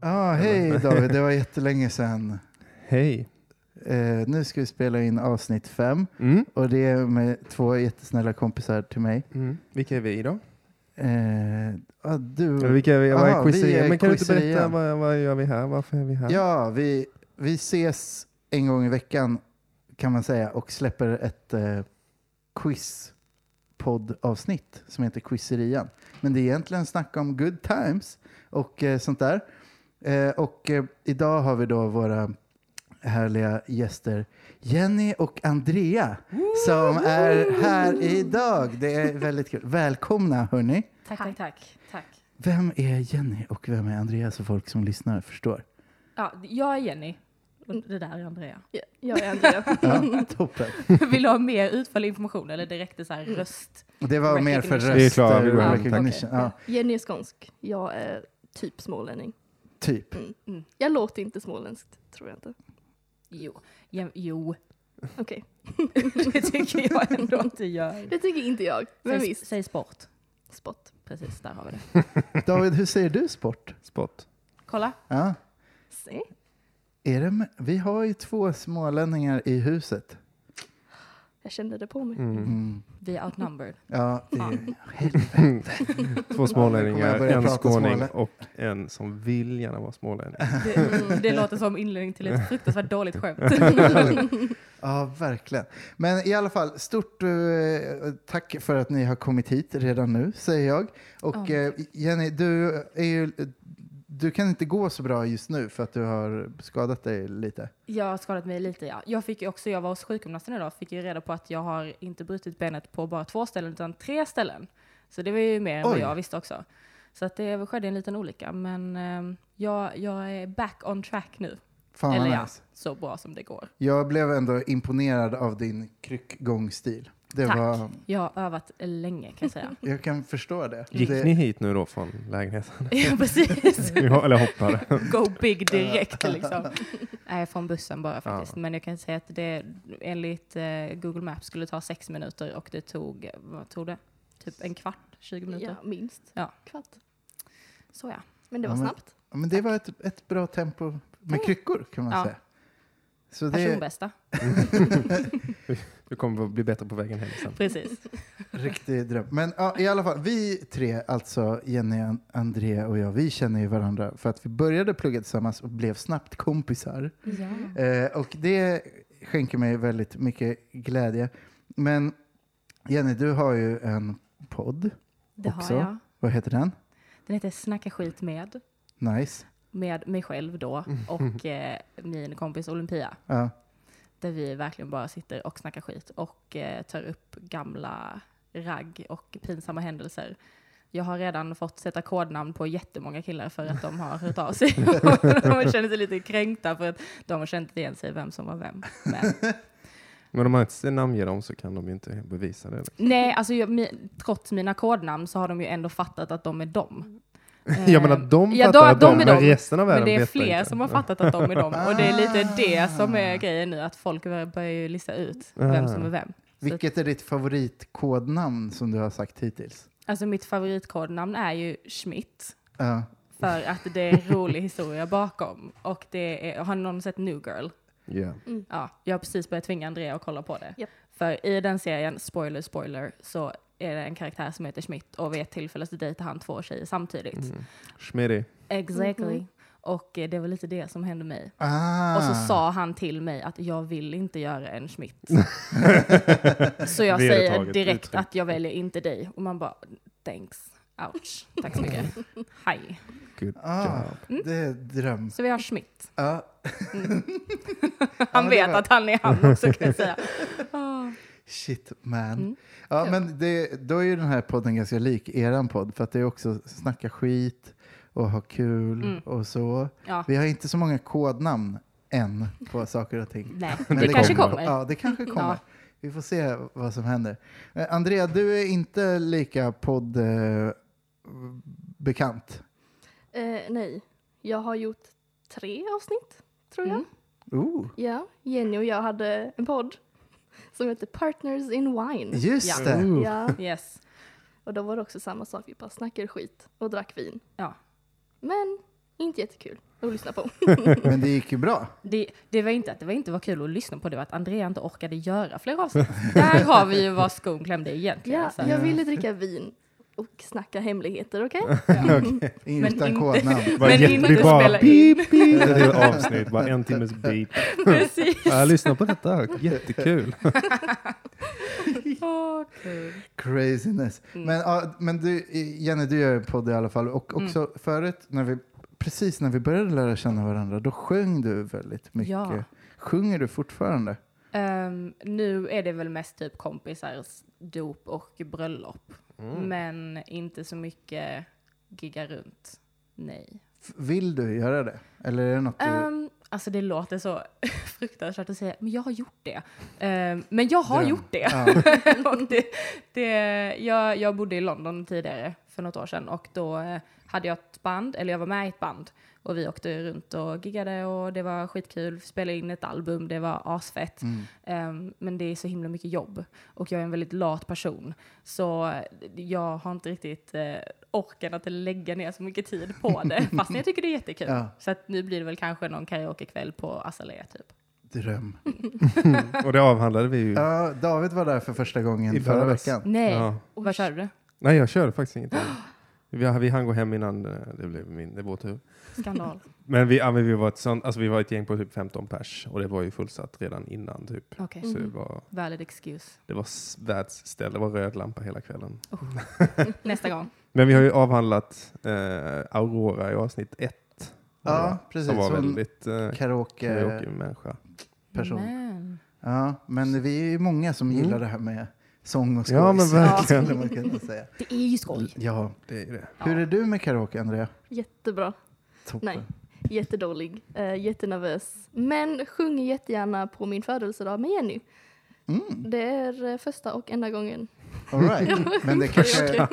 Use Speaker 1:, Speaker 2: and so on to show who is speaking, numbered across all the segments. Speaker 1: ah, hej David, det var jättelänge sedan.
Speaker 2: Hej.
Speaker 1: Eh, nu ska vi spela in avsnitt fem
Speaker 2: Mm.
Speaker 1: och det är med två jättesnälla kompisar till mig.
Speaker 2: Mm. Vilka är vi då?
Speaker 1: Eh, ah,
Speaker 2: Eller
Speaker 1: du,
Speaker 2: vilka är vi? Vad
Speaker 1: Aha,
Speaker 2: är
Speaker 1: vi är
Speaker 2: quizzeria? Men kan du inte
Speaker 1: quizzeria.
Speaker 2: berätta vad, vad gör vi här? Varför är vi här?
Speaker 1: ja, vi, vi ses en gång i veckan kan man säga och släpper ett eh, quizpoddavsnitt som heter Quizerian. Men det är egentligen snack om good times och eh, sånt där. Eh, och eh, idag har vi då våra härliga gäster Jenny och Andrea som är här idag. Det är väldigt kul. Välkomna hörni.
Speaker 3: Tack, tack, tack. tack.
Speaker 1: Vem är Jenny och vem är Andrea så folk som lyssnar förstår?
Speaker 3: Ja, jag är Jenny. Och
Speaker 4: Mm.
Speaker 3: det där är Andrea.
Speaker 4: Ja, Jag är Andrea.
Speaker 1: Ja, toppen.
Speaker 3: Vill du ha mer utförlig information eller direkt är så
Speaker 4: Mm.
Speaker 3: här röst?
Speaker 1: Det var mer för
Speaker 3: Recognition.
Speaker 1: röst.
Speaker 2: Vi är klara, vi går
Speaker 1: eh,
Speaker 2: hem, tack.
Speaker 1: recognition. Ja,
Speaker 4: Jenny är skånsk. Jag är typ smålänning.
Speaker 1: typ.
Speaker 4: Mm. Jag låter inte småländskt, tror jag inte.
Speaker 3: Jo, ja, jo.
Speaker 4: Okej,
Speaker 3: det tycker jag ändå att du gör.
Speaker 4: det tycker inte jag. Men
Speaker 3: Säg,
Speaker 4: visst,
Speaker 3: säg sport.
Speaker 4: spott.
Speaker 3: Precis, där har vi det.
Speaker 1: David, hur säger du sport?
Speaker 2: Spot.
Speaker 3: Kolla.
Speaker 1: Ja.
Speaker 3: Se.
Speaker 1: Är det, med- vi har ju två smålänningar i huset.
Speaker 4: Jag kände det på mig.
Speaker 2: Mm.
Speaker 1: Mm.
Speaker 3: Vi är outnumbered.
Speaker 1: Ja, det
Speaker 3: Ja.
Speaker 1: helvete.
Speaker 2: Två
Speaker 1: kommer jag
Speaker 2: smålänningar,
Speaker 1: börja
Speaker 2: en
Speaker 1: prata
Speaker 2: skåning
Speaker 1: smålä-
Speaker 2: och en som vill gärna vara smålänning.
Speaker 3: Det, mm, det låter som inledning till ett fruktansvärt dåligt skämt.
Speaker 1: Ja, verkligen. Men i alla fall, stort eh, tack för att ni har kommit hit redan nu, säger jag. Och
Speaker 3: Ja.
Speaker 1: eh, Jenny, du, är ju, du kan inte gå så bra just nu för att du har skadat dig lite.
Speaker 3: Jag har skadat mig lite ja. Jag fick ju också, jag var hos sjukgymnasten idag, fick ju reda på att jag har inte brutit benet på bara två ställen utan tre ställen. Så det var ju mer än vad
Speaker 1: Oj.
Speaker 3: jag visste också. Så att det skedde en liten olycka, men ehm, jag, jag är back on track nu.
Speaker 1: Fan
Speaker 3: Eller
Speaker 1: vad
Speaker 3: ja,
Speaker 1: nice.
Speaker 3: så bra som det går.
Speaker 1: Jag blev ändå imponerad av din kryckgångstil. Det
Speaker 3: Tack.
Speaker 1: var,
Speaker 3: Jag har övat länge kan jag säga.
Speaker 1: jag kan förstå det.
Speaker 2: Gick
Speaker 1: det
Speaker 2: ni hit nu då från lägenheten?
Speaker 3: ja, precis.
Speaker 2: Ja, Eller hoppade?
Speaker 3: Go big direkt liksom. Nej, från bussen bara faktiskt. Men jag kan säga att det enligt eh, Google Maps skulle ta sex minuter och det tog, vad tog det? Typ en kvart, 20 minuter.
Speaker 4: Ja, minst.
Speaker 3: Ja.
Speaker 4: Kvart.
Speaker 3: Så ja.
Speaker 4: Men det
Speaker 1: Ja,
Speaker 4: var
Speaker 1: men-
Speaker 4: snabbt.
Speaker 1: Ja, men det var ett, ett bra tempo med kryckor kan man
Speaker 3: Ja.
Speaker 1: säga. Så det
Speaker 3: Personbästa.
Speaker 2: Du kommer att bli bättre på vägen hem sen.
Speaker 3: Precis.
Speaker 1: är riktig dröm. Men ja, i alla fall, vi tre, alltså Jenny, An- André och jag, vi känner ju varandra för att vi började plugga tillsammans och blev snabbt kompisar.
Speaker 3: Ja.
Speaker 1: Eh, och det skänker mig väldigt mycket glädje. Men Jenny, du har ju en podd.
Speaker 3: Det
Speaker 1: Också.
Speaker 3: har jag.
Speaker 1: Vad heter den?
Speaker 3: Den heter Snacka skit med.
Speaker 1: Nice.
Speaker 3: Med mig själv då och eh, min kompis Olympia.
Speaker 1: Ja.
Speaker 3: Där vi verkligen bara sitter och snackar skit och eh, tar upp gamla ragg och pinsamma händelser. Jag har redan fått sätta kodnamn på jättemånga killar för att de har hört av sig. de känner sig lite kränkta för att de har känt igen sig vem som var vem. Men
Speaker 2: Men om man inte namnger dem så kan de ju inte bevisa det.
Speaker 3: Nej, alltså jag, mi, trots mina kodnamn så har de ju ändå fattat att de är dem. Eh,
Speaker 2: Jag menar, de
Speaker 3: ja,
Speaker 2: fattar
Speaker 3: de-
Speaker 2: att
Speaker 3: de
Speaker 2: de,
Speaker 3: är
Speaker 2: men
Speaker 3: de.
Speaker 2: resten av
Speaker 3: Men
Speaker 2: världen
Speaker 3: det är
Speaker 2: vet
Speaker 3: fler
Speaker 2: inte.
Speaker 3: som har fattat att de är dem. Och det är lite det som är grejen nu, att folk börjar börjar ju lista ut vem
Speaker 2: Ah.
Speaker 3: som är vem.
Speaker 1: Vilket är ditt favoritkodnamn som du har sagt hittills?
Speaker 3: Alltså mitt favoritkodnamn är ju Schmidt.
Speaker 1: Ja.
Speaker 3: För att det är en rolig historia bakom. Och det är, har någon sett New Girl?
Speaker 2: Ja.
Speaker 4: Mm.
Speaker 3: Ja, jag har precis börjat tvinga Andrea att kolla på det.
Speaker 4: Japp.
Speaker 3: För i den serien, spoiler, spoiler, så är det en karaktär som heter Schmidt och vid ett tillfälle så dejtar han två tjejer samtidigt.
Speaker 2: Schmitty.
Speaker 3: Exactly. Och eh, det var lite det som hände mig.
Speaker 1: Ah.
Speaker 3: Och så sa han till mig att jag vill inte göra en Schmidt. så
Speaker 2: Vedertaget
Speaker 3: jag säger direkt
Speaker 2: uttryck.
Speaker 3: att jag väljer inte dig. Och man bara, thanks. Ouch. Tack så mycket. Hej.
Speaker 2: Good
Speaker 1: Ah,
Speaker 2: job.
Speaker 3: Mm.
Speaker 1: det är dröm.
Speaker 3: Så vi har Schmidt. Mm.
Speaker 1: Ja.
Speaker 3: Han
Speaker 1: men det
Speaker 3: vet
Speaker 1: var-
Speaker 3: att han är han också kan jag säga. Ah.
Speaker 1: Shit man.
Speaker 3: Mm.
Speaker 1: Ja, men det, då är ju den här podden ganska lik eran podd för att det är också snacka skit och ha kul
Speaker 3: Mm.
Speaker 1: och så.
Speaker 3: Ja.
Speaker 1: Vi har inte så många kodnamn än på saker och ting.
Speaker 3: Nej,
Speaker 1: Men
Speaker 3: det, kanske
Speaker 2: kommer.
Speaker 3: kommer.
Speaker 1: Ja, det kanske kommer.
Speaker 3: Ja.
Speaker 1: Vi får se vad som händer. Eh, Andrea, du är inte lika poddbekant. Eh, bekant.
Speaker 4: Eh, nej, jag har gjort tre avsnitt, tror jag.
Speaker 3: Mm.
Speaker 1: Ooh.
Speaker 4: Ja, Jenny och jag hade en podd som hette Partners in Wine.
Speaker 1: Just
Speaker 3: Ja.
Speaker 1: det.
Speaker 4: Ja,
Speaker 3: Yes.
Speaker 4: och då var det också samma sak. Vi bara snackade skit och drack vin.
Speaker 3: Ja.
Speaker 4: Men Inte jättekul att lyssna på.
Speaker 1: Men det gick ju bra.
Speaker 3: Det, det var inte att det var inte var kul att lyssna på, det var att Andrea inte orkade göra fler avsnitt. Där har vi ju var skon klämde egentligen.
Speaker 4: Ja,
Speaker 3: så.
Speaker 4: jag ville dricka vin och snacka hemligheter, okej? Mm.
Speaker 1: Utan
Speaker 3: inte-
Speaker 1: kodnamn.
Speaker 2: Bara
Speaker 3: Men
Speaker 2: jätte-
Speaker 3: innan
Speaker 2: det
Speaker 3: du
Speaker 2: är bara
Speaker 3: spelar in.
Speaker 2: beep, beep, ett helt avsnitt, bara en timmes beep.
Speaker 3: Precis.
Speaker 2: Ja, Jag lyssnar på detta, jättekul.
Speaker 3: Åh, kul.
Speaker 1: Craziness.
Speaker 3: Mm.
Speaker 1: Men, ja, men du, Jenny, du gör en podd i alla fall. Och också förut, när vi, precis när vi började lära känna varandra, då sjöng du väldigt mycket.
Speaker 3: Ja.
Speaker 1: Sjunger du fortfarande?
Speaker 3: Ehm, nu är det väl mest typ kompisars dop och bröllop.
Speaker 1: Mm.
Speaker 3: Mm. Men inte så mycket gigga runt. Nej.
Speaker 1: F- Vill du göra det? Eller är det något du...
Speaker 3: Ehm, alltså det låter så fruktansvärt att säga, men jag har gjort det. Ehm, men jag har
Speaker 1: Dröm.
Speaker 3: gjort det.
Speaker 1: Ja.
Speaker 3: och det, det jag, jag bodde i London tidigare, för något år sedan, och då eh, hade jag ett band, eller jag var med i ett band, och vi åkte runt och giggade och det var skitkul, spelade in ett album, det var asfett.
Speaker 1: Mm.
Speaker 3: Ehm, men det är så himla mycket jobb och jag är en väldigt lat person. Så jag har inte riktigt eh, orken att lägga ner så mycket tid på det, fast jag tycker det är jättekul.
Speaker 1: Ja.
Speaker 3: Så att nu blir det väl kanske någon karaokekväll på Azalea typ.
Speaker 1: Dröm.
Speaker 2: Och det avhandlade vi ju.
Speaker 1: Ja, David var där för första gången
Speaker 2: I
Speaker 1: förra
Speaker 2: våras.
Speaker 1: veckan.
Speaker 3: Nej,
Speaker 2: Ja.
Speaker 3: vad körde du?
Speaker 2: Nej, jag körde faktiskt ingenting. Vi, vi hann gå hem innan eh, det blev min, det var vår tur.
Speaker 3: Skandal.
Speaker 2: Men vi, ja, men vi, var ett sånt, alltså vi var ett gäng på typ 15 pers och det var ju fullsatt redan innan typ.
Speaker 3: Okej.
Speaker 2: Så det
Speaker 4: Mm.
Speaker 2: var,
Speaker 3: Valid excuse.
Speaker 2: det var s- världsställe, det var röd lampa hela kvällen.
Speaker 4: Mm.
Speaker 3: Nästa gång.
Speaker 2: Men vi har ju avhandlat eh, Aurora i avsnitt ett.
Speaker 1: Ja, precis.
Speaker 2: Som var
Speaker 1: Hon
Speaker 2: väldigt eh,
Speaker 1: karaoke-person.
Speaker 2: karaoke-människa.
Speaker 3: Men.
Speaker 1: Ja, men vi är ju många som
Speaker 2: Mm.
Speaker 1: gillar det här med sång och skoj.
Speaker 2: Ja, men
Speaker 1: så
Speaker 2: verkligen.
Speaker 1: skulle man kunna säga.
Speaker 3: Det är ju skoj.
Speaker 1: Ja.
Speaker 2: Det är det.
Speaker 1: Hur är du med karaoke, Andrea?
Speaker 4: Jättebra.
Speaker 1: Toppen.
Speaker 4: Nej. Jättedålig. Eh, jättenervös. Men sjunger jättegärna på min födelsedag med Jenny.
Speaker 1: Mm,
Speaker 4: Det är eh, första och enda gången.
Speaker 1: all right. Men det kanske...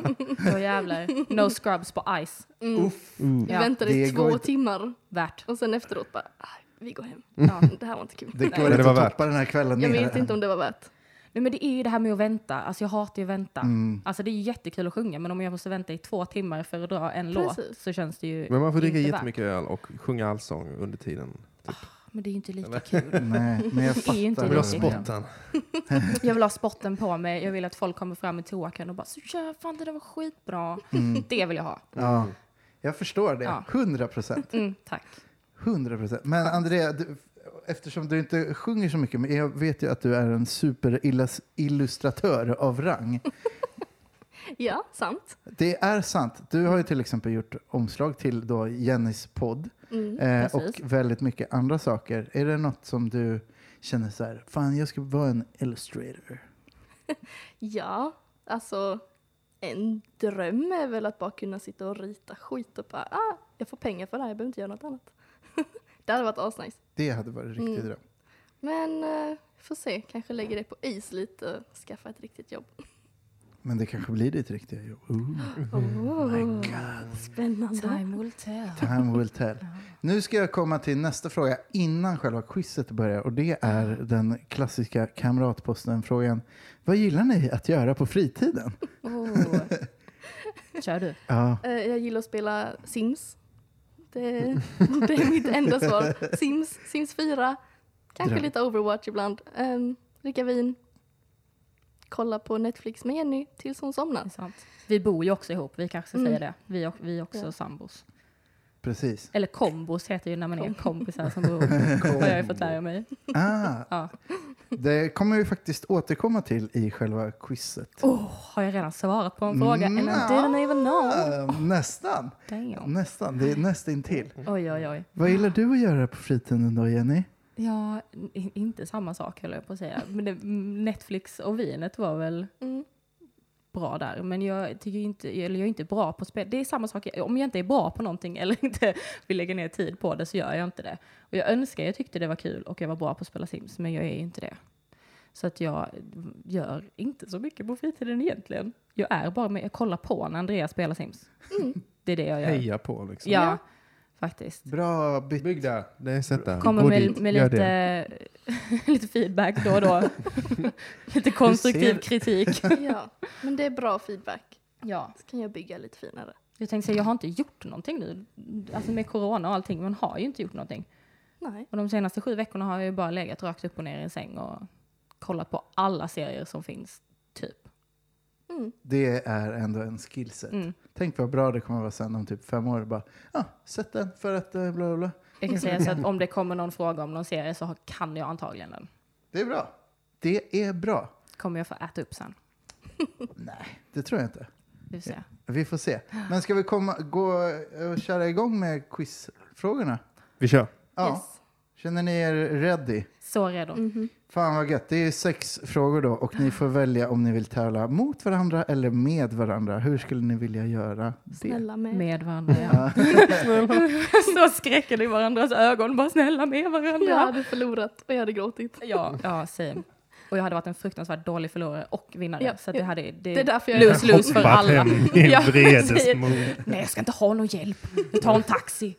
Speaker 3: Då jävlar. No scrubs på ice.
Speaker 4: Mm. Vi
Speaker 3: Ja,
Speaker 4: väntade
Speaker 1: det
Speaker 4: i
Speaker 1: går
Speaker 4: två
Speaker 1: inte.
Speaker 4: timmar
Speaker 3: värt.
Speaker 4: och sen efteråt bara, ah, vi går hem.
Speaker 3: Ja.
Speaker 4: Det här var inte kul.
Speaker 1: Det
Speaker 3: Nej.
Speaker 1: går
Speaker 2: Men det
Speaker 1: inte
Speaker 2: var
Speaker 1: att
Speaker 2: värt.
Speaker 1: toppa den här kvällen
Speaker 4: Jag
Speaker 1: ner.
Speaker 4: vet inte om det var värt.
Speaker 3: Nej, men det är ju det här med att vänta. Alltså jag hatar ju att vänta.
Speaker 1: Mm.
Speaker 3: Alltså det är ju jättekul att sjunga, men om jag måste vänta i två timmar för att dra en låt
Speaker 4: Precis.
Speaker 3: så känns det ju...
Speaker 2: Men man får dricka
Speaker 3: Inte värt.
Speaker 2: jättemycket öl och sjunga allsång under tiden.
Speaker 3: Men det är ju inte lika kul.
Speaker 1: Nej, men jag
Speaker 3: Det är ju inte
Speaker 1: fattar.
Speaker 2: Jag vill ha
Speaker 3: det.
Speaker 2: spotten.
Speaker 3: Jag vill ha spotten på mig. Jag vill att folk kommer fram i toakan och bara så ja, fan det där var skitbra.
Speaker 1: Mm.
Speaker 3: Det vill jag ha.
Speaker 1: Ja, jag förstår det.
Speaker 3: Ja.
Speaker 1: 100 procent.
Speaker 3: Mm, tack.
Speaker 1: 100 procent. Men Andrea, du, eftersom du inte sjunger så mycket, men jag vet ju att du är en superillustratör av rang.
Speaker 4: Ja, sant.
Speaker 1: Det är sant. Du har ju till exempel gjort omslag till då Jennys podd
Speaker 4: Mm.
Speaker 1: eh, och
Speaker 3: precis.
Speaker 1: väldigt mycket andra saker. Är det något som du känner så här, fan jag ska vara en illustrator?
Speaker 4: Ja, alltså en dröm är väl att bara kunna sitta och rita skit och bara, ah, jag får pengar för det här, jag behöver inte göra något annat. det hade varit asnice.
Speaker 1: Det hade varit riktigt
Speaker 4: Mm.
Speaker 1: dröm.
Speaker 4: Men eh, får se, kanske lägger det på is lite och skaffa ett riktigt jobb.
Speaker 1: Men det kanske blir ditt riktiga jobb. Ooh,
Speaker 4: Oh,
Speaker 1: Mhm. my God.
Speaker 4: Spännande.
Speaker 3: Time will tell.
Speaker 1: Time will tell. Nu ska jag komma till nästa fråga innan själva quizet börjar och det är den klassiska kamratposten-frågan. Vad gillar ni att göra på fritiden?
Speaker 3: Oh. Kör du.
Speaker 1: Ja,
Speaker 4: Eh, jag gillar att spela Sims. Det,
Speaker 1: Mm.
Speaker 4: det är mitt enda svar. Sims, Sims 4, kanske
Speaker 1: Dröm.
Speaker 4: lite Overwatch ibland. Um, dricka vin. Kolla på Netflix med Jenny tills hon
Speaker 3: Det är
Speaker 4: somnar.
Speaker 3: sant. Vi bor ju också ihop, vi kanske ska
Speaker 4: Mm.
Speaker 3: säga det. Vi, och, vi är också
Speaker 4: Ja.
Speaker 3: sambos.
Speaker 1: precis.
Speaker 3: Eller kombos heter ju när man är kompisar som bor ihop. Har jag ju fått lära mig.
Speaker 1: Ah,
Speaker 3: Ja.
Speaker 1: det kommer vi faktiskt återkomma till i själva quizet.
Speaker 3: Oh, har jag redan svarat på en fråga? Eller
Speaker 1: Nja.
Speaker 3: didn't even
Speaker 4: Oh.
Speaker 3: know.
Speaker 1: Ah, nästan,
Speaker 3: Damn.
Speaker 1: nästan. Det är nästintill.
Speaker 3: Oj, oj, oj.
Speaker 1: Vad gillar du att göra på fritiden då, Jenny?
Speaker 3: Ja, i- inte samma sak höll jag på att säga. Men det, Netflix och vinet var väl
Speaker 4: Mm.
Speaker 3: bra där. Men jag, tycker ju inte, eller jag är inte bra på spel. Det är samma sak, om jag inte är bra på någonting eller inte vill lägga ner tid på det så gör jag inte det. Och jag önskar, jag tyckte det var kul och jag var bra på att spela Sims, men jag är ju inte det. Så att jag gör inte så mycket på fritiden egentligen. Jag är bara med, jag kollar på när Andreas spelar Sims. Det är det jag gör.
Speaker 2: Heja på liksom.
Speaker 3: Ja, faktiskt.
Speaker 1: Bra bytt.
Speaker 2: Bygg där. Det är sätt där.
Speaker 3: Kommer
Speaker 2: Gå
Speaker 3: med,
Speaker 2: dit,
Speaker 3: med
Speaker 2: gör
Speaker 3: lite, lite feedback då och då. lite konstruktiv
Speaker 1: ser-
Speaker 3: kritik.
Speaker 4: Ja, men det är bra feedback.
Speaker 3: Ja.
Speaker 4: Så kan jag bygga lite finare.
Speaker 3: Jag tänkte säga, jag har inte gjort någonting nu. Alltså med corona och allting, man har ju inte gjort någonting.
Speaker 4: Nej.
Speaker 3: Och de senaste sju veckorna har jag ju bara legat rakt upp och ner i en säng och kollat på alla serier som finns, typ.
Speaker 4: Mm.
Speaker 1: Det är ändå en skillset.
Speaker 3: Mm.
Speaker 1: Tänk vad bra det kommer vara sen om typ fem år. Bara, ja, sätt den för att eh, bla bla bla.
Speaker 3: Jag kan säga så att om det kommer någon fråga om någon serie så har- kan jag antagligen den.
Speaker 1: Det är bra. Det är bra.
Speaker 3: Kommer jag få äta upp sen.
Speaker 1: Nej, det tror jag inte.
Speaker 3: Vi får se.
Speaker 1: Vi får se. Men ska vi komma, gå och köra igång med quizfrågorna?
Speaker 2: Vi kör.
Speaker 1: Ja.
Speaker 4: Yes.
Speaker 1: Känner ni er ready?
Speaker 3: Så redo.
Speaker 4: Mhm.
Speaker 1: Fan vad gött. Det är sex frågor då och ni får välja om ni vill tävla mot varandra eller med varandra. Hur skulle ni vilja göra det?
Speaker 4: Snälla med.
Speaker 3: Med varandra, ja. så skräcken i varandras ögon, bara snälla med varandra.
Speaker 4: Jag
Speaker 3: Ja,
Speaker 4: hade förlorat och jag hade gråtit.
Speaker 3: ja, same. Och jag hade varit en fruktansvärt dålig förlorare och vinnare.
Speaker 4: Ja,
Speaker 3: så att det hade... Det,
Speaker 4: Det är därför jag
Speaker 3: Lose, lose för
Speaker 2: Hoppat
Speaker 3: alla.
Speaker 2: hem i
Speaker 3: Ja,
Speaker 2: vredesmod.
Speaker 3: Nej, jag ska inte ha någon hjälp. Jag tar en taxi.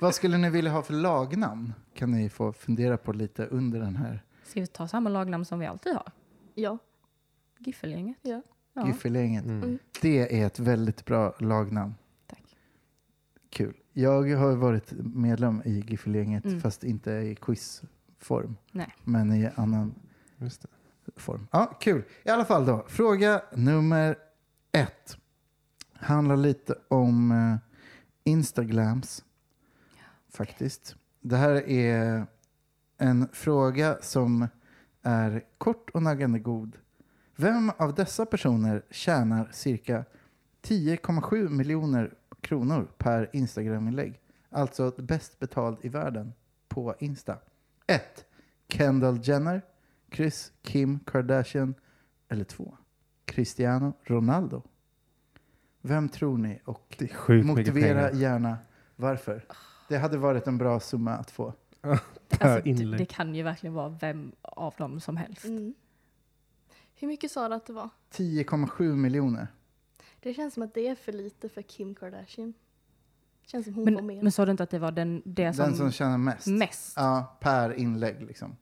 Speaker 1: Vad skulle ni vilja ha för lagnamn? Kan ni få fundera på lite under den här
Speaker 3: Ska vi ta samma lagnamn som vi alltid har?
Speaker 4: Ja.
Speaker 3: Giffelgänget.
Speaker 4: Ja.
Speaker 3: ja.
Speaker 1: giffelgänget.
Speaker 2: Mm.
Speaker 1: Det är ett väldigt bra lagnamn.
Speaker 3: Tack.
Speaker 1: Kul. Jag har varit medlem i giffelgänget
Speaker 3: Mm.
Speaker 1: fast inte i quizform.
Speaker 3: Nej.
Speaker 1: Men i annan
Speaker 2: Just det.
Speaker 1: form. Ja, kul. I alla fall då. Fråga nummer ett. Handlar lite om eh, Instagrams. Faktiskt. Det här är en fråga som är kort och naggande god. Vem av dessa personer tjänar cirka 10,7 miljoner kronor per Instagram-inlägg? Alltså bäst betald i världen på Insta. 1. Kendall Jenner. Chris, Kim, Kardashian eller två? Cristiano Ronaldo. Vem tror ni? Och
Speaker 2: Det är sjukt mycket
Speaker 1: motivera
Speaker 2: pengar.
Speaker 1: gärna varför. Det hade varit en bra summa att få.
Speaker 2: Per
Speaker 3: d-
Speaker 2: inlägg.
Speaker 3: Alltså, det kan ju verkligen vara vem av dem som helst.
Speaker 4: Mm. Hur mycket sa du att det var?
Speaker 1: 10,7 miljoner.
Speaker 4: Det känns som att det är för lite för Kim Kardashian. Känns som hon får
Speaker 3: Men,
Speaker 4: mer.
Speaker 3: men sa du inte att det var den, det som,
Speaker 1: Den som tjänar mest.
Speaker 3: mest?
Speaker 1: Ja, per inlägg liksom.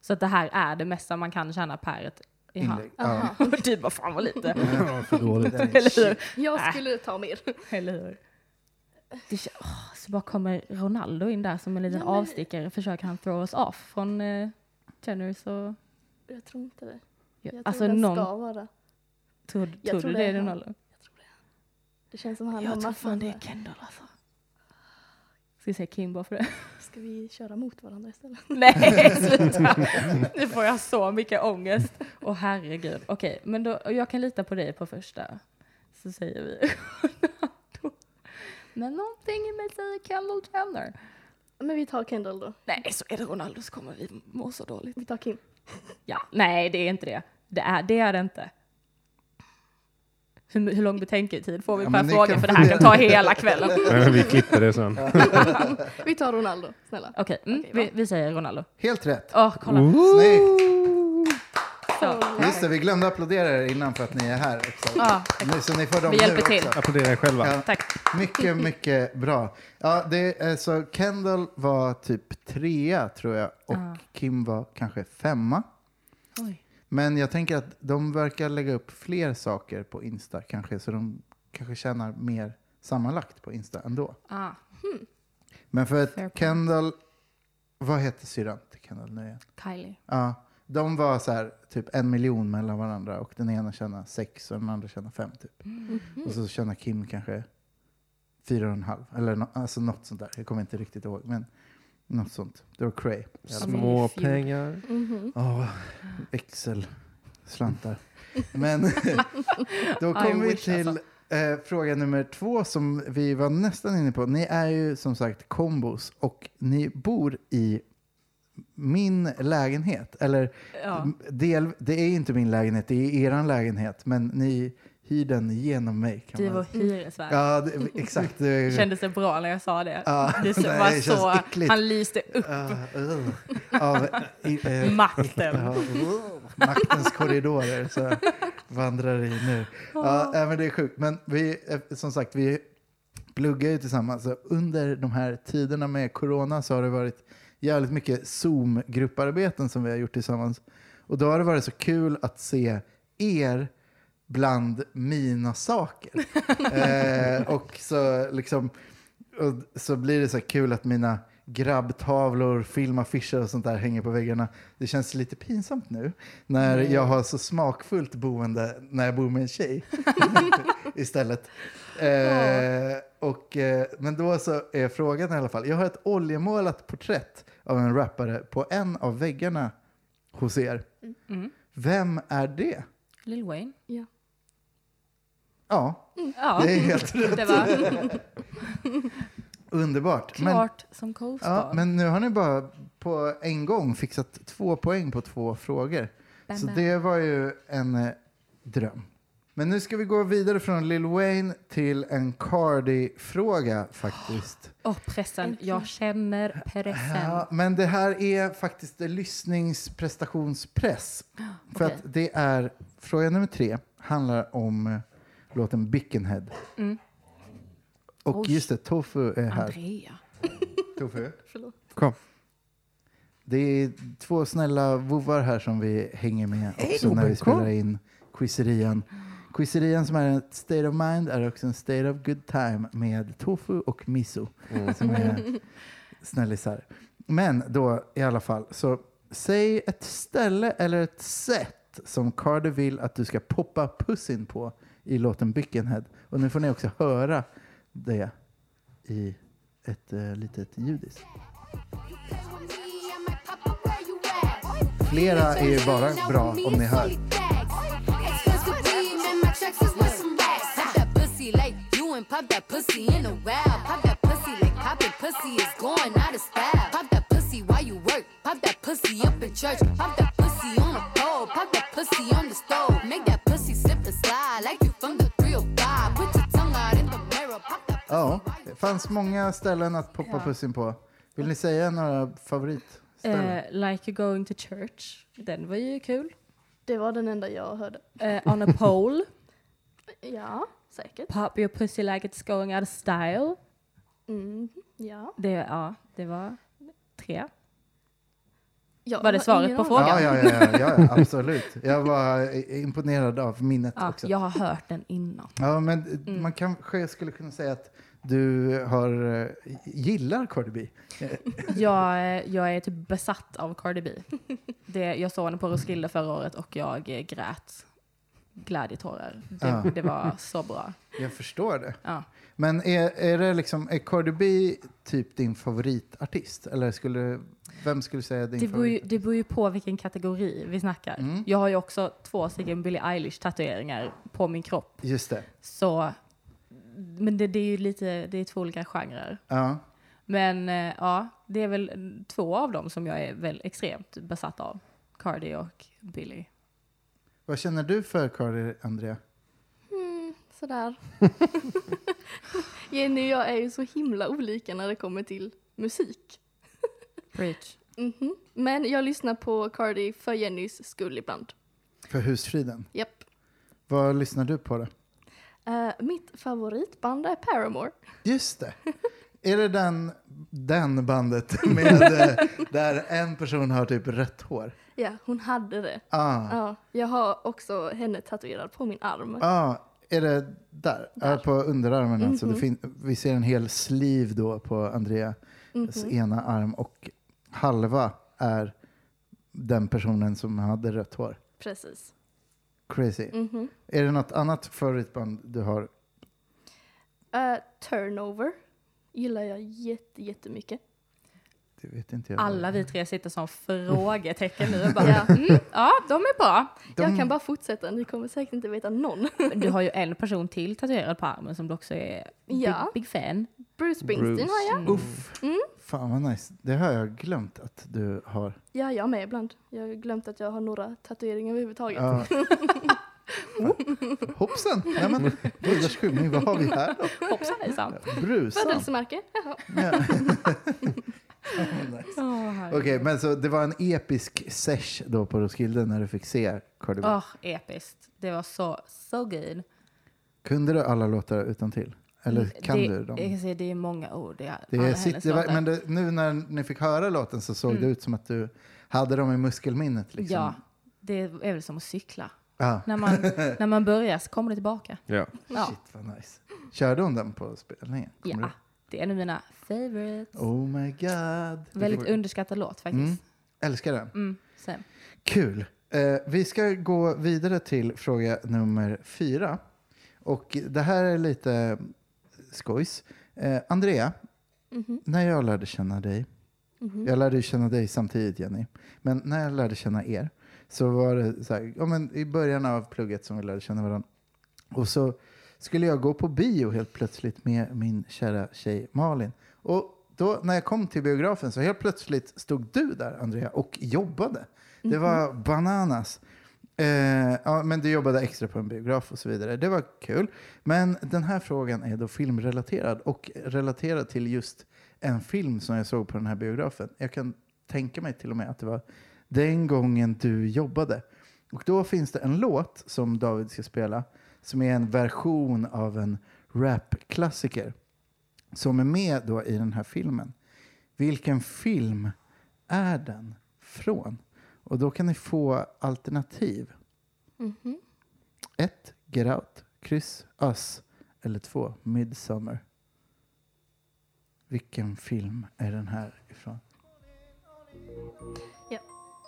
Speaker 3: Så att det här är det mesta man kan tjäna per ett Jaha.
Speaker 1: Inlägg. Ja.
Speaker 4: Aha.
Speaker 3: Och du bara, fan vad lite.
Speaker 2: Ja, för dåligt.
Speaker 1: Den är-
Speaker 3: Eller hur?
Speaker 4: Jag skulle ta mer.
Speaker 3: Eller hur? Det, kän- åh, så bara kommer Ronaldo in där som en liten
Speaker 4: Ja, men-
Speaker 3: avstickare. Försöker han throw us off från eh, Jenners och...
Speaker 4: Jag tror inte det. Jag tror
Speaker 3: alltså
Speaker 4: den
Speaker 3: någon...
Speaker 4: ska vara.
Speaker 3: Tror, tror
Speaker 4: tror
Speaker 3: du
Speaker 4: det
Speaker 3: det
Speaker 4: är
Speaker 3: är
Speaker 4: han.
Speaker 3: Ronaldo?
Speaker 4: Det känns som han har
Speaker 3: Jag tror
Speaker 4: massa.
Speaker 3: fan det
Speaker 4: Det.
Speaker 3: är Kendall alltså. Ska vi säga Kim bara för det?
Speaker 4: Ska vi köra mot varandra istället?
Speaker 3: Nej, sluta! Nu får jag så mycket ångest. Åh herregud. Okej, men då, jag kan lita på dig på första. Så säger vi Ronaldo. Men någonting i mig säger Kendall Jenner.
Speaker 4: Men vi tar Kendall då.
Speaker 3: Nej, så är det Ronaldo så kommer vi må så dåligt.
Speaker 4: Vi tar Kim.
Speaker 3: Ja, nej det är inte det. Det är det, är det inte. Hur, hur lång betänketid får vi
Speaker 1: Ja,
Speaker 3: per
Speaker 1: men ni
Speaker 3: fråga?
Speaker 1: kan
Speaker 3: För det här kan ta hela kvällen.
Speaker 2: Nej, men vi klipper det sen.
Speaker 4: Vi tar Ronaldo, snälla.
Speaker 3: Okej, mm,
Speaker 4: Okej, va?
Speaker 3: vi, vi säger Ronaldo.
Speaker 1: Helt rätt.
Speaker 3: Åh, kolla.
Speaker 1: Snyggt!
Speaker 3: Så.
Speaker 1: Just det, vi glömde applådera er innan för att ni är här. Också.
Speaker 3: Ja,
Speaker 1: Nu, så ni får dem
Speaker 3: Vi
Speaker 1: nu
Speaker 3: hjälper till.
Speaker 1: också.
Speaker 2: Applådera er själva.
Speaker 1: Ja.
Speaker 3: tack.
Speaker 1: Mycket, mycket bra. Ja, det är, så Kendall var typ trea tror jag och
Speaker 3: Ja.
Speaker 1: Kim var kanske femma.
Speaker 3: Oj.
Speaker 1: Men jag tänker att de verkar lägga upp fler saker på Insta kanske, så de kanske tjänar mer sammanlagt på Insta ändå.
Speaker 3: Ah.
Speaker 1: Men för
Speaker 3: Fair point.
Speaker 1: att Kendall, vad heter syrran till Kendall nu igen?
Speaker 3: Kylie.
Speaker 1: Ja, de var så här, typ en miljon mellan varandra och den ena tjänar sex och den andra tjänar fem typ.
Speaker 3: Mm.
Speaker 1: Och så tjänar Kim kanske fyra och en halv, eller no, alltså något sånt där. Jag kommer inte riktigt ihåg, men något sånt. Det var cray.
Speaker 2: Små pengar.
Speaker 4: Mhm.
Speaker 1: Ja, växel, slantar. Men då
Speaker 3: I
Speaker 1: kommer vi
Speaker 3: wish,
Speaker 1: till
Speaker 3: alltså.
Speaker 1: eh, fråga nummer två som vi var nästan inne på. Ni är ju som sagt kombos och ni bor i min lägenhet. Eller
Speaker 3: Ja.
Speaker 1: m- del, det är inte min lägenhet, det är er lägenhet. Men ni hyr den genom mig. Kan
Speaker 3: Du
Speaker 1: man-
Speaker 3: var hyresvärd.
Speaker 1: Mm. Ja, det, exakt. Det,
Speaker 3: Det kändes det bra när jag sa det?
Speaker 1: Ja,
Speaker 3: det så-
Speaker 1: nej,
Speaker 3: var
Speaker 1: det känns
Speaker 3: så,
Speaker 1: äckligt.
Speaker 3: han lyste upp
Speaker 1: Ah, ugh. av, i, eh,
Speaker 3: makten.
Speaker 1: Ja, wow. maktens korridorer så jag vandrar i nu. Ja, nej, men det är sjukt. Men vi, eh, som sagt, vi pluggar ju tillsammans. Så under de här tiderna med corona så har det varit jävligt mycket Zoom-grupparbeten som vi har gjort tillsammans. Och då har det varit så kul att se er bland mina saker. eh, och så liksom, och så blir det så här kul att mina grabbtavlor, filmaffischer och sånt där hänger på väggarna. Det känns lite pinsamt nu när jag har så smakfullt boende när jag bor med en tjej istället. Eh, och, eh, men då så är frågan i alla fall. Jag har ett oljemålat porträtt av en rappare på en av väggarna hos er.
Speaker 3: Mm.
Speaker 1: Vem är det?
Speaker 3: Lil Wayne.
Speaker 1: Ja,
Speaker 3: Ja,
Speaker 1: Mm. det är helt rätt.
Speaker 3: det var
Speaker 1: Underbart. Men,
Speaker 3: klart som coastbar.
Speaker 1: ja, men nu har ni bara på en gång fixat två poäng på två frågor.
Speaker 3: Bam,
Speaker 1: Så
Speaker 3: bam.
Speaker 1: det var ju en eh, dröm. Men nu ska vi gå vidare från Lil Wayne till en Cardi-fråga faktiskt.
Speaker 3: Och pressen. Jag känner pressen.
Speaker 1: Ja, men det här är faktiskt lyssningsprestationspress. För
Speaker 3: Okej.
Speaker 1: att det är, fråga nummer tre handlar om eh, låten Bickenhead.
Speaker 3: Mm.
Speaker 1: Och
Speaker 3: Oj.
Speaker 1: just det, Tofu är här.
Speaker 3: Andrea.
Speaker 1: Tofu.
Speaker 4: Förlåt.
Speaker 2: Kom.
Speaker 1: Det är två snälla vovvar här som vi hänger med också när
Speaker 2: Hej,
Speaker 1: vi
Speaker 2: Robert, kom.
Speaker 1: spelar in Quizerian. Quizerian som är ett state of mind är också en state of good time med tofu och miso som är snällisar. Men då i alla fall, så säg ett ställe eller ett sätt som Carter vill att du ska poppa pussin på i låten Bickenhead. Och nu får ni också höra det i ett eh, litet ljudis.
Speaker 5: Flera är ju bara bra om ni hör.
Speaker 1: Ja, det fanns många ställen att poppa
Speaker 3: Ja.
Speaker 1: pussin på. Vill ni säga några favoritställen?
Speaker 3: Eh, like you're going to church. Den var ju kul.
Speaker 4: Det var den enda jag hörde.
Speaker 3: Eh, on a pole.
Speaker 4: Ja, säkert.
Speaker 3: Pop your pussy like it's going out of style.
Speaker 4: Mm, ja.
Speaker 3: Det, ja, det var tre.
Speaker 4: Jag
Speaker 3: Var det
Speaker 4: har
Speaker 3: svaret
Speaker 4: ingen
Speaker 3: på
Speaker 4: aning.
Speaker 3: frågan?
Speaker 1: ja, ja, ja, ja, ja, absolut. Jag var eh, imponerad av minnet
Speaker 3: Ja, Mm.
Speaker 1: också.
Speaker 3: jag har hört den innan.
Speaker 1: Ja, men eh, man kanske skulle kunna säga att du har, eh, gillar Cardi B.
Speaker 3: Jag, eh, jag är typ besatt av Cardi B. Det, jag såg henne på Roskilde förra året och jag eh, grät glädjetårar. Det,
Speaker 1: Ja.
Speaker 3: det var så bra.
Speaker 1: Jag förstår det.
Speaker 3: Ja.
Speaker 1: Men är, är, det liksom, är Cardi B typ din favoritartist? Eller skulle, vem skulle säga din
Speaker 3: Det beror, ju,
Speaker 1: favorit?
Speaker 3: det beror ju på vilken kategori vi snackar.
Speaker 1: Mm.
Speaker 3: Jag har ju också två stycken Billie Eilish-tatueringar på min kropp.
Speaker 1: Just det.
Speaker 3: Så, men det, det är ju lite, det är två olika genrer.
Speaker 1: Ja.
Speaker 3: Men eh, ja, det är väl två av dem som jag är väl extremt besatt av. Cardi och Billie.
Speaker 1: Vad känner du för Cardi, Andrea?
Speaker 4: Mm, sådär. Jenny och jag är ju så himla olika när det kommer till musik.
Speaker 3: Preach.
Speaker 4: Mhm. Men jag lyssnar på Cardi för Jennys skull ibland.
Speaker 1: För husfriden?
Speaker 4: Japp.
Speaker 1: Vad lyssnar du på då?
Speaker 4: Eh, mitt favoritband är Paramore.
Speaker 1: Just det. Är det den, den bandet med, eh, där en person har typ rött hår?
Speaker 4: Ja, hon hade det.
Speaker 1: Ah.
Speaker 4: Ja, jag har också henne tatuerad på min arm.
Speaker 1: ah. Är det där? Ja, på underarmen alltså. Det fin- vi ser en hel sliv då på Andreas
Speaker 4: Mhm.
Speaker 1: ena arm och halva är den personen som hade rött hår.
Speaker 4: Precis.
Speaker 1: Crazy.
Speaker 4: Mhm.
Speaker 1: Är det något annat favoritband du har?
Speaker 4: Eh, turnover gillar jag jätte, jättemycket.
Speaker 1: Det vet inte jag.
Speaker 3: Alla vi tre sitter som frågetecken nu. och Bara,
Speaker 4: Ja.
Speaker 3: mm, ja, de är bra.
Speaker 1: De-
Speaker 4: Jag kan bara fortsätta, ni kommer säkert inte veta någon.
Speaker 3: Du har ju en person till tatuerad på armen som du också är big,
Speaker 4: Ja.
Speaker 3: big fan.
Speaker 4: Bruce Springsteen
Speaker 2: Bruce.
Speaker 4: har jag.
Speaker 1: Uff. Fan vad nice. Det har jag glömt att du har.
Speaker 4: Ja, jag med ibland. Jag har glömt att jag har några tatueringar överhuvudtaget.
Speaker 1: Ja. Hoppsan! Nej, men, gudars skymning, vad har vi här då?
Speaker 3: Hoppsan hejsan.
Speaker 1: Brusan.
Speaker 4: Födelsemärke? Jaha.
Speaker 1: Ja. nice. Okej, men så det var en episk sesh då på Roskilde när du fick se Cardi B.
Speaker 3: Åh, episkt. Det var så, så good.
Speaker 1: Kunde du alla låtar utan till? Eller kan
Speaker 3: det,
Speaker 1: du dem?
Speaker 3: Jag kan säga, det är många ord. Det är,
Speaker 1: Det
Speaker 3: alla
Speaker 1: är,
Speaker 3: hennes
Speaker 1: sitt, det var,
Speaker 3: låtar. Mm.
Speaker 1: men det, nu när ni fick höra låten så såg det ut som att du hade dem i muskelminnet. Liksom.
Speaker 3: Ja, det är väl som att cykla.
Speaker 1: Ja.
Speaker 3: När man, när man börjar så kommer det tillbaka.
Speaker 2: Ja.
Speaker 3: Ja.
Speaker 1: Shit vad nice. Körde hon den på spelningen? Kommer
Speaker 3: ja. Det är en av mina favorites.
Speaker 1: du- Oh my god.
Speaker 3: Väldigt underskattad låt
Speaker 1: Mm.
Speaker 3: faktiskt.
Speaker 1: Älskar den.
Speaker 3: Mm. Sen.
Speaker 1: Kul. Eh, vi ska gå vidare till fråga nummer fyra. Och det här är lite skojs. Eh, Andrea,
Speaker 4: Mhm,
Speaker 1: när jag lärde känna dig,
Speaker 4: mhm.
Speaker 1: jag lärde ju känna dig samtidigt Jenny, men när jag lärde känna er så var det så här, ja, men i början av plugget som vi lärde känna varandra. Och så skulle jag gå på bio helt plötsligt med min kära tjej Malin. Och då när jag kom till biografen så helt plötsligt stod du där Andrea och jobbade. Det var bananas. Eh, ja, men du jobbade extra på en biograf och så vidare. Det var kul. Men den här frågan är då filmrelaterad och relaterad till just en film som jag såg på den här biografen. Jag kan tänka mig till och med att det var den gången du jobbade. Och då finns det en låt som David ska spela som är en version av en rapklassiker som är med då i den här filmen. Vilken film är den från? Och då kan ni få alternativ.
Speaker 4: Mhm.
Speaker 1: Ett, Get Out, kryss, Us. Eller två, Midsummer. Vilken film är den här ifrån?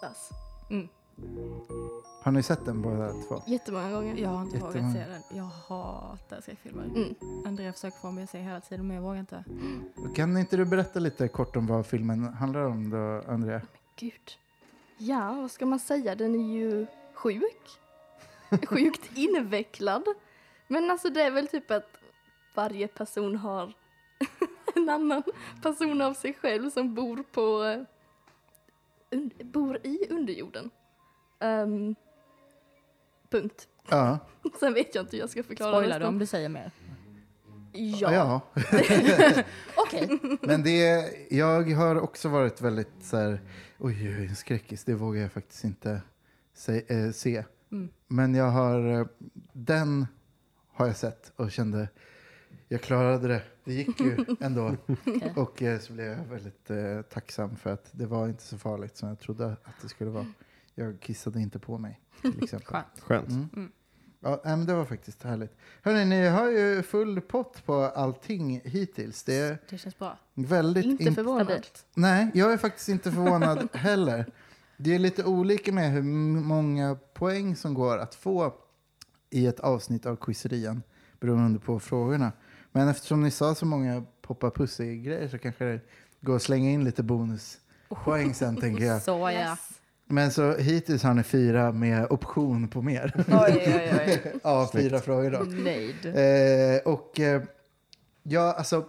Speaker 4: Alltså,
Speaker 1: Har ni sett den båda två?
Speaker 4: Jättemånga gånger.
Speaker 3: Jag har inte
Speaker 1: Jättemånga.
Speaker 3: vågat se den. Jag hatar skräckfilmer.
Speaker 4: Mm.
Speaker 3: Andrea försöker få mig att se hela tiden men jag vågar inte.
Speaker 1: Kan inte du berätta lite kort om vad filmen handlar om då, Andrea?
Speaker 4: Gud. Ja, vad ska man säga? Den är ju sjuk. Sjukt invecklad. Men alltså det är väl typ att varje person har en annan person av sig själv som bor på eh, un, bor i underjorden. Ehm, punkt.
Speaker 1: Ja.
Speaker 4: Sen vet jag inte hur jag ska förklara
Speaker 3: Spoilar du
Speaker 4: nästan.
Speaker 3: om du säger mer?
Speaker 4: Ja.
Speaker 1: ja.
Speaker 3: Okej.
Speaker 1: Men det, jag har också varit väldigt så här, oj, oj, en skräckis, det vågar jag faktiskt inte se. eh, se.
Speaker 3: Mm.
Speaker 1: Men jag har, eh, den har jag sett och kände, jag klarade det. Det gick ju ändå.
Speaker 3: Okej.
Speaker 1: Och eh, så blev jag väldigt eh, tacksam för att det var inte så farligt som jag trodde att det skulle vara. Jag kissade inte på mig till exempel.
Speaker 3: Skönt.
Speaker 2: Skönt.
Speaker 1: Mm.
Speaker 3: Mm.
Speaker 1: Ja, nej, men det var faktiskt härligt. Hörrni, ni har ju full pott på allting hittills. Det är
Speaker 3: Det känns bra.
Speaker 1: väldigt
Speaker 4: Inte
Speaker 1: int-
Speaker 4: förvånad.
Speaker 3: Stabilt.
Speaker 1: Nej, jag är faktiskt inte förvånad heller. Det är lite olika med hur m- många poäng som går att få i ett avsnitt av quizerian beroende på frågorna. Men eftersom ni sa så många poppa pussy-grejer så kanske det går att slänga in lite bonuspoäng sen tänker jag.
Speaker 3: Så ja.
Speaker 4: Yes.
Speaker 1: Men så hittills har ni fyra med option på mer.
Speaker 3: Oj, oj, oj.
Speaker 1: ja, fyra frågor då.
Speaker 3: Nöjd.
Speaker 1: Eh, och eh, ja, alltså,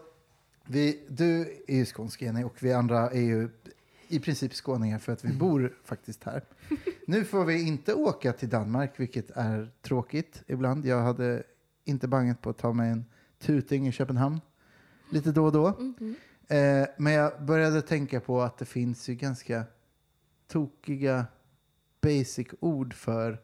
Speaker 1: vi, du är ju skånsk Jenny och vi andra är ju i princip skåningar för att vi bor faktiskt här. Nu får vi inte åka till Danmark, vilket är tråkigt ibland. Jag hade inte banget på att ta mig en tuting i Köpenhamn lite då och då.
Speaker 4: Mhm.
Speaker 1: Eh, men jag började tänka på att det finns ju ganska tokiga basic-ord för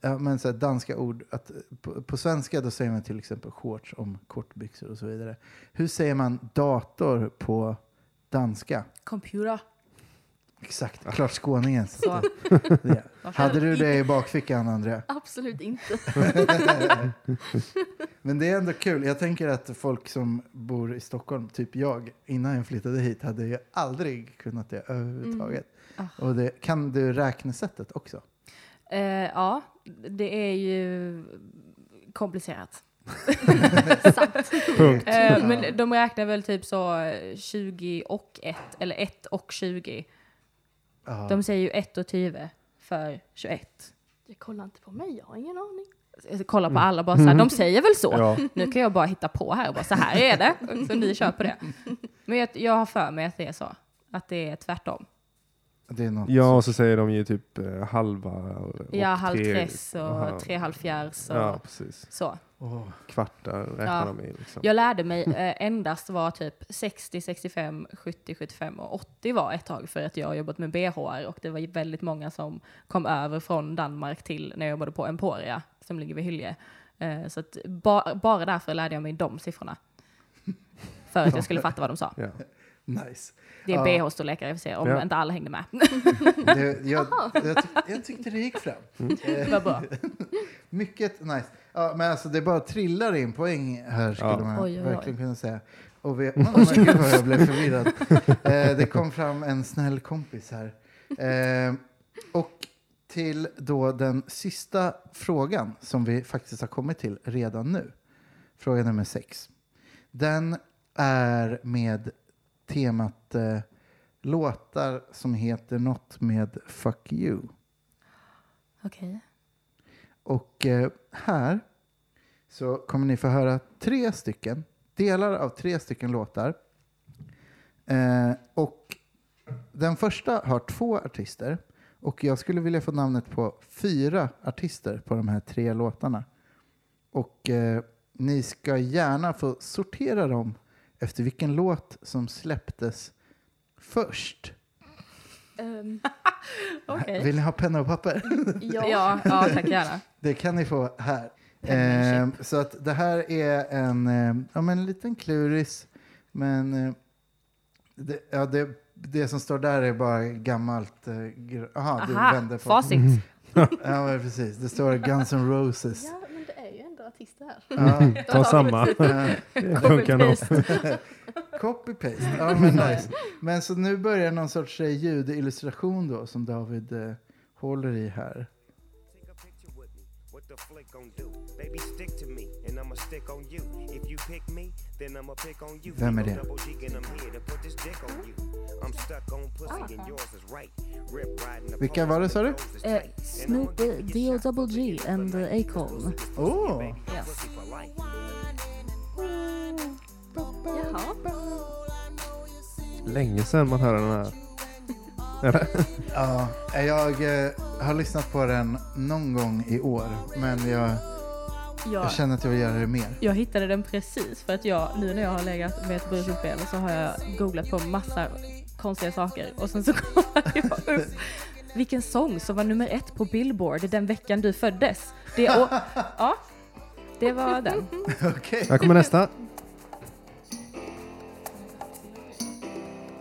Speaker 1: ja, men så här danska ord. Att, eh, på, på svenska då säger man till exempel shorts om kortbyxor och så vidare. Hur säger man dator på danska?
Speaker 3: Computer.
Speaker 1: Exakt, klart skåningen. Så
Speaker 3: Så.
Speaker 1: att det- Hade du det i bakfickan, Andrea?
Speaker 4: Absolut inte.
Speaker 1: Men det är ändå kul. Jag tänker att folk som bor i Stockholm, typ jag, innan jag flyttade hit, hade ju aldrig kunnat det överhuvudtaget.
Speaker 3: Mm.
Speaker 1: Och det, kan du räknesättet också?
Speaker 3: Eh, ja, det är ju komplicerat.
Speaker 2: Punkt.
Speaker 3: Eh, men de räknar väl typ så eh, 20 och 1, eller 1 och 20.
Speaker 1: Ja.
Speaker 3: De säger ju 1 och 20 för 21.
Speaker 4: Jag kollar inte på mig, jag har ingen aning.
Speaker 3: Jag kollar på alla bara så här, de säger väl så.
Speaker 2: Mm. Ja.
Speaker 3: Nu kan jag bara hitta på här och bara så här är det. Så ni kör på det. Men jag, jag har för mig att det är så. Att det är tvärtom.
Speaker 1: Det är något
Speaker 2: ja, och så säger de ju typ eh, halva och
Speaker 3: ja,
Speaker 2: tre-
Speaker 3: halvtress
Speaker 2: Aha.
Speaker 3: och tre halvfjärs och
Speaker 2: Ja, precis.
Speaker 3: så.
Speaker 1: Åh,
Speaker 2: Kvartar räknar
Speaker 3: Ja.
Speaker 2: de i. Liksom.
Speaker 3: Jag lärde mig eh, endast vara typ 60, 65, 70, 75 och 80 var ett tag för att jag har jobbat med BHR och det var ju väldigt många som kom över från Danmark till när jag jobbade på Emporia som ligger vid Hylje. Eh, så att ba- bara därför lärde jag mig de siffrorna. För att jag skulle fatta vad de sa.
Speaker 2: Ja.
Speaker 1: Nice.
Speaker 3: Det är
Speaker 1: Ja.
Speaker 3: bh-storlekar i och för sig, om
Speaker 2: Ja.
Speaker 3: inte alla hängde med.
Speaker 1: Det, jag, jag, tyck, jag tyckte det gick fram. Eh,
Speaker 3: Vad bra.
Speaker 1: Mycket nice. Ja, men alltså det bara trillar in poäng här skulle
Speaker 2: Ja.
Speaker 1: man
Speaker 3: Oj, oj, oj.
Speaker 1: verkligen kunna säga. Och vi, oh, men gud vad jag blev förvirrad. Eh, det kom fram en snäll kompis här. Eh, och till då den sista frågan som vi faktiskt har kommit till redan nu. Fråga nummer sex. Den är med temat eh, låtar som heter något med Fuck You.
Speaker 3: Okej.
Speaker 1: Och eh, här så kommer ni få höra tre stycken, delar av tre stycken låtar. Eh, och den första har två artister och jag skulle vilja få namnet på fyra artister på de här tre låtarna. Och eh, ni ska gärna få sortera dem efter vilken låt som släpptes först.
Speaker 4: Ehm,
Speaker 3: Okej.
Speaker 1: Vill ni ha penna och papper?
Speaker 4: ja.
Speaker 3: Ja, ja, tack gärna.
Speaker 1: Det kan ni få här. Eh,
Speaker 3: Penmanship.
Speaker 1: så att det här är en, eh, ja, men en liten kluris. Men eh, det, ja, det, det som står där är bara gammalt. eh, gr- Aha, du
Speaker 3: Aha,
Speaker 1: vände på.
Speaker 3: facit.
Speaker 1: Ja, men precis. Det står Guns N' Roses.
Speaker 4: ja, men det är ju ändå artister här.
Speaker 1: Ja,
Speaker 2: Ta samma.
Speaker 1: eh,
Speaker 2: Det funkar nog.
Speaker 1: Copy-paste. Ja, men, nice. men så nu börjar någon sorts eh, ljudillustration då som David eh, håller i här.
Speaker 6: Take a picture with me. What the flick gon' do? Baby, stick to me, and I'ma stick on you. If you pick me, then I'ma pick on you.
Speaker 1: Vem är det?
Speaker 6: Double G, and I'm here to put this dick on you. I'm stuck on
Speaker 3: Oh,
Speaker 6: pussy, and yours is right. Rip riding the
Speaker 1: Vilka var det, sa du?
Speaker 3: Eh, Snoop, D.O. Double G and eh, Akon.
Speaker 1: Oh.
Speaker 3: Yes.
Speaker 4: Jaha.
Speaker 2: Länge sedan man hörde den här. Eller?
Speaker 1: Ja, jag eh, har lyssnat på den någon gång i år, men jag,
Speaker 3: Jag,
Speaker 1: jag känner att jag vill göra det mer.
Speaker 3: jag hittade den precis för att jag, nu när jag har legat med ett brusenspel så har jag googlat på massa konstiga saker och sen så kollade jag upp vilken sång som var nummer ett på Billboard den veckan du föddes. Det, å- ja, det var den.
Speaker 1: Okej.
Speaker 2: Här kommer nästa.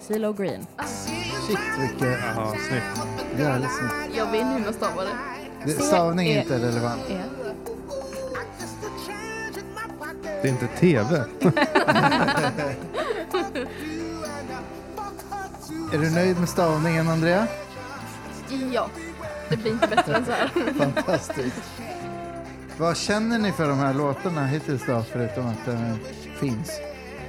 Speaker 3: CeeLo Green.
Speaker 1: Shit, vilket
Speaker 2: Ja, snyggt.
Speaker 1: jävligt snyggt.
Speaker 4: Jag vet inte hur man stavar det.
Speaker 1: Det- Stavning är inte relevant.
Speaker 3: är-
Speaker 2: Det är inte tv.
Speaker 1: Är du nöjd med stavningen, Andrea?
Speaker 4: Ja, det blir inte bättre än så här.
Speaker 1: Fantastiskt. Vad känner ni för de här låtarna hittills då, förutom att den finns?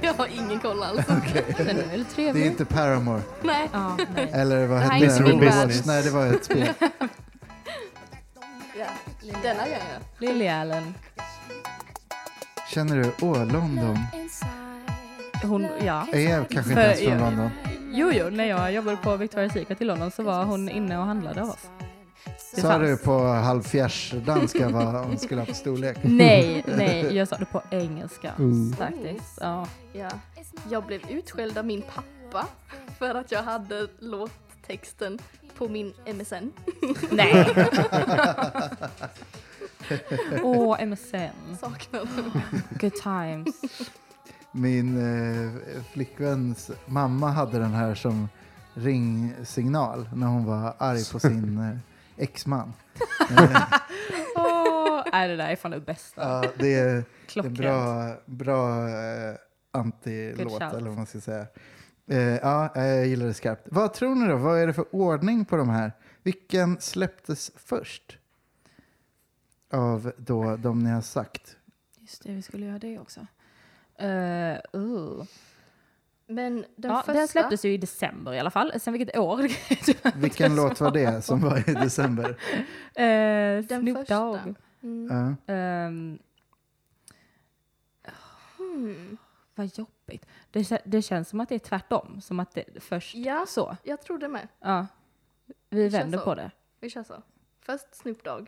Speaker 4: Jag har ingen koll alls.
Speaker 3: Den är väl
Speaker 1: Det är
Speaker 3: trevlig?
Speaker 1: inte Paramore,
Speaker 4: Nej.
Speaker 3: Ja, Mm. nej.
Speaker 1: eller vad
Speaker 4: Det här
Speaker 1: hette
Speaker 4: är
Speaker 1: den?
Speaker 4: Miserable
Speaker 1: Overwatch?
Speaker 2: Business.
Speaker 1: Nej, det var ett spel.
Speaker 4: Ja. Denna gör jag.
Speaker 3: Lily Allen.
Speaker 1: Känner du, åh, London.
Speaker 3: Hon, ja.
Speaker 1: Är jag kanske inte ens
Speaker 3: För-
Speaker 1: från London?
Speaker 3: Jo, jo, när jag jobbade på Victoria's Secret i London så var hon inne och handlade av oss. Det
Speaker 1: Sa
Speaker 3: fanns.
Speaker 1: du på halvfjärsdanska vad hon skulle ha för storlek?
Speaker 3: Nej, nej, jag sa det på engelska faktiskt. Ja.
Speaker 4: Ja. Jag blev utskälld av min pappa för att jag hade låttexten på min MSN.
Speaker 3: Nej. Åh, MSN.
Speaker 4: Saknar
Speaker 3: Good times.
Speaker 1: Min eh, flickväns mamma hade den här som ringsignal när hon var arg på sin eh, exman.
Speaker 3: Åh, nej, det där är fan det bästa.
Speaker 1: Ja, Eh, det är en
Speaker 3: Klockrent.
Speaker 1: bra, bra eh,
Speaker 3: Good
Speaker 1: antilåt
Speaker 3: shout.
Speaker 1: eller vad man ska säga. Eh, ja, eh, jag gillar det skarpt. Vad tror ni då? Vad är det för ordning på de här? Vilken släpptes först? Av då de ni har sagt.
Speaker 3: Just det, vi skulle göra det också. Eh, uh.
Speaker 4: Men den
Speaker 3: ja,
Speaker 4: första...
Speaker 3: den släpptes ju i december i alla fall. Sen vilket år?
Speaker 1: Vilken låt var det som var i december?
Speaker 3: Eh,
Speaker 4: Den
Speaker 3: Snoop
Speaker 4: första.
Speaker 3: Dogg.
Speaker 4: Mm.
Speaker 1: Ja.
Speaker 3: Ehm,
Speaker 4: Hmm.
Speaker 3: vad jobbigt. Det, kä- det känns som att det är tvärtom. Som att det först
Speaker 4: Ja,
Speaker 3: så.
Speaker 4: jag tror det med.
Speaker 3: Ja. Vi
Speaker 4: känns
Speaker 3: vänder
Speaker 4: så.
Speaker 3: på det.
Speaker 4: Vi kör så. Först Snoop Dogg,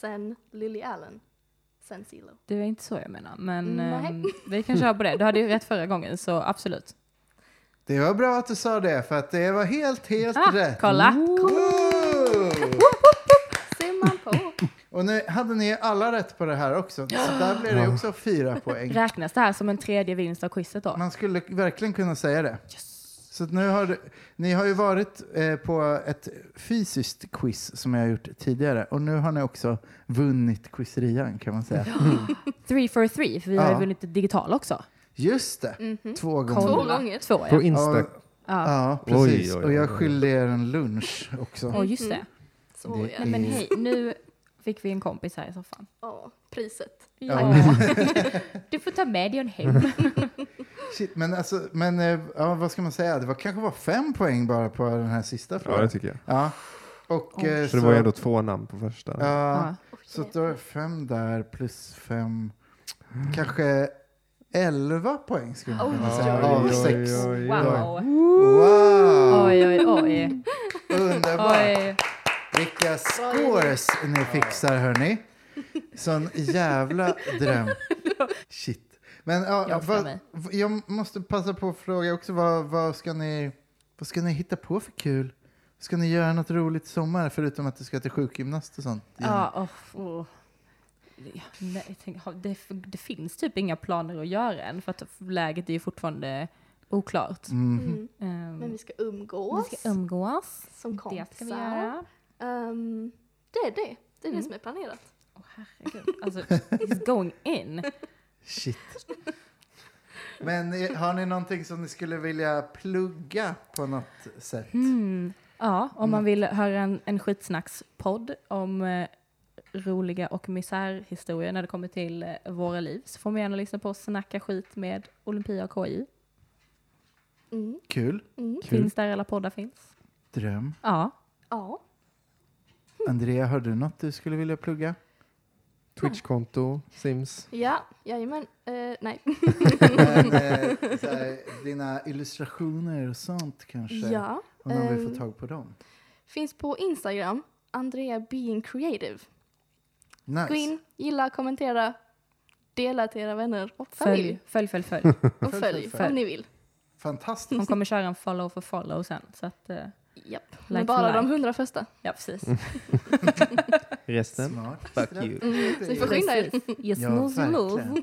Speaker 4: sen Lily Allen, sen CeeLo.
Speaker 3: Det var inte så jag menar. Men
Speaker 4: Nej.
Speaker 3: ehm, vi kan köra på det. Du hade ju rätt förra gången så absolut.
Speaker 1: Det var bra att du sa det, för att det var helt, helt
Speaker 3: Ah,
Speaker 1: rätt.
Speaker 3: kolla!
Speaker 1: Wow!
Speaker 4: Ser man på.
Speaker 1: Och nu hade ni alla rätt på det här också, så där blev det också fyra poäng. Mm.
Speaker 3: Räknas det här som en tredje vinst av quizet då?
Speaker 1: Man skulle verkligen kunna säga det. Så att nu har, du- ni har ju varit eh, på ett fysiskt quiz som jag har gjort tidigare och nu har ni också vunnit quizerian kan man säga.
Speaker 3: Three for three, för vi har
Speaker 1: Ja.
Speaker 3: ju vunnit det digital också.
Speaker 1: Just det,
Speaker 4: Mhm.
Speaker 1: två gånger.
Speaker 4: Två
Speaker 3: Kolla.
Speaker 4: gånger.
Speaker 3: Två,
Speaker 2: På
Speaker 3: ja.
Speaker 2: Insta.
Speaker 1: Ja,
Speaker 3: ja.
Speaker 1: ja,
Speaker 2: Oj, oj,
Speaker 1: precis.
Speaker 2: oj, oj.
Speaker 1: Och jag skyllde er en lunch också.
Speaker 3: Och just det.
Speaker 4: Så
Speaker 1: Det-
Speaker 4: ja.
Speaker 3: Nej, men hej, nu fick vi en kompis här i soffan.
Speaker 4: ja, priset.
Speaker 3: Ja. du får ta med dig en hem.
Speaker 1: Shit, men alltså, men eh, ja, vad ska man säga? Det var kanske var fem poäng bara på den här sista
Speaker 2: Ja, det
Speaker 1: frågan.
Speaker 2: tycker jag.
Speaker 1: Ja, och eh,
Speaker 2: Så det var ju ändå två namn på första.
Speaker 1: ja,
Speaker 3: Ja.
Speaker 1: Så att då är fem där plus fem, kanske elva poäng skulle man
Speaker 4: Oj,
Speaker 1: kunna
Speaker 4: oj,
Speaker 1: säga.
Speaker 4: oj,
Speaker 1: Av
Speaker 4: oj,
Speaker 1: sex.
Speaker 2: oj.
Speaker 3: Wow.
Speaker 1: Wow!
Speaker 3: Oj, oj, oj.
Speaker 1: Underbart!
Speaker 3: oj.
Speaker 1: Vilka scores ni fixar hörni. Sån jävla dröm. Shit. Men ja,
Speaker 3: Jag
Speaker 1: vad,
Speaker 3: mig.
Speaker 1: jag måste passa på att fråga också vad, vad, ska ni, vad ska ni hitta på för kul? Ska ni göra något roligt i sommar förutom att du ska till sjukgymnast och sånt?
Speaker 3: Ja, oh, oh. Ja, Nej, jag tänker, ha- det, det finns typ inga planer att göra än för att läget är ju fortfarande oklart.
Speaker 1: Mm.
Speaker 4: Mm.
Speaker 3: Ehm,
Speaker 4: Men vi ska
Speaker 3: vi
Speaker 4: umgås
Speaker 3: ska umgås.
Speaker 4: som kompisar.
Speaker 3: Det ska vi göra.
Speaker 4: Ehm, det är det. Det är det
Speaker 3: Mm.
Speaker 4: som är planerat.
Speaker 3: Åh, herregud. Alltså, it's going in.
Speaker 1: Shit. Men eh, har ni någonting som ni skulle vilja plugga på något sätt?
Speaker 3: Mm. Ja, om man vill höra en, en skitsnackspodd om eh, roliga och misärhistorier när det kommer till eh, våra liv så får man gärna lyssna på Snacka skit med Olympia och KI.
Speaker 4: Mm.
Speaker 1: Kul.
Speaker 4: Mm.
Speaker 3: Finns där alla poddar finns.
Speaker 1: Dröm.
Speaker 3: Ja.
Speaker 4: Ja.
Speaker 1: Andrea, har du något du skulle vilja plugga?
Speaker 2: Twitch-konto, Sims.
Speaker 4: Ja, jajamän. Uh,
Speaker 1: Men,
Speaker 4: nej.
Speaker 1: eh, så här, dina illustrationer och sånt kanske?
Speaker 4: Ja.
Speaker 1: Om man vill
Speaker 4: ehm,
Speaker 1: få tag på dem.
Speaker 4: Finns på Instagram. Andrea being creative.
Speaker 1: Nice.
Speaker 4: Gå in, gilla, kommentera, dela till era vänner och
Speaker 3: Följ,
Speaker 4: familj.
Speaker 3: följ, följ, följ.
Speaker 4: Och
Speaker 1: Följ,
Speaker 4: följ,
Speaker 1: följ.
Speaker 4: om ni vill.
Speaker 1: Fantastiskt.
Speaker 3: Hon kommer köra en follow for follow sen. Så att, eh,
Speaker 4: Japp.
Speaker 3: Like
Speaker 4: Men bara
Speaker 3: for
Speaker 4: de
Speaker 3: like.
Speaker 4: hundra första.
Speaker 3: ja, precis.
Speaker 2: Resten?
Speaker 1: Smart.
Speaker 2: Mm. Fuck you. Mm.
Speaker 4: Ni får skynda er.
Speaker 3: Yes,
Speaker 1: Ja,
Speaker 3: move, move.
Speaker 1: verkligen.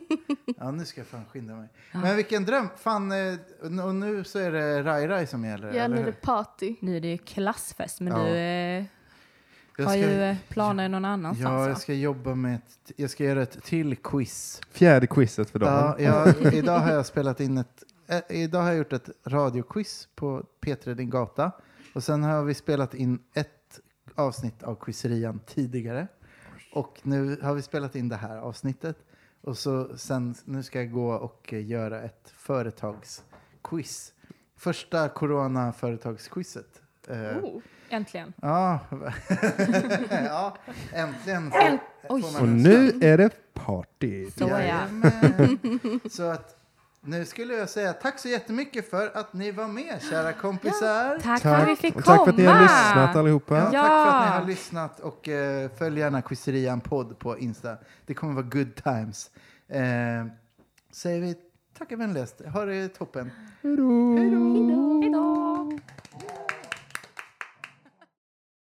Speaker 1: Ja, nu ska jag fan skynda mig. Men vilken dröm. Fan, eh, och nu så är det Rai Rai som gäller,
Speaker 4: Ja,
Speaker 1: eller
Speaker 4: nu är
Speaker 1: hur?
Speaker 4: det party.
Speaker 3: Nu är det ju klassfest, men
Speaker 1: Ja.
Speaker 3: du eh,
Speaker 1: Jag
Speaker 3: har
Speaker 1: ska-
Speaker 3: ju eh, planer någon annanstans.
Speaker 1: Ja,
Speaker 3: va?
Speaker 1: jag ska jobba med ett, jag ska göra ett till quiz.
Speaker 2: Fjärde quizet för dagen.
Speaker 1: Ja, jag, idag har jag spelat in ett, eh, idag har jag gjort ett radioquiz på P3 Din Gata. Och sen har vi spelat in ett avsnitt av Quizerian tidigare. Och nu har vi spelat in det här avsnittet. Och så sen, nu ska jag gå och eh, göra ett företagsquiz. Första corona-företagsquizet. Eh,
Speaker 4: Oh.
Speaker 3: Äntligen.
Speaker 1: Ja, ja, äntligen. får-
Speaker 3: Änt-
Speaker 1: får
Speaker 3: Oj.
Speaker 1: man
Speaker 2: Och
Speaker 1: en
Speaker 2: nu är det party.
Speaker 3: Så ja.
Speaker 1: Jajamän. Så att nu skulle jag säga tack så jättemycket för att ni var med kära kompisar.
Speaker 3: Tack, för att vi fick
Speaker 2: och
Speaker 3: komma.
Speaker 2: tack för att ni har lyssnat allihopa.
Speaker 1: Ja, Tack för att ni har
Speaker 3: Ja.
Speaker 1: lyssnat och eh, följ gärna Quizerian podd på Insta. Det kommer vara good times. Eh, säger vi tack vänligast. Ha det toppen.
Speaker 3: Hejdå. Hejdå.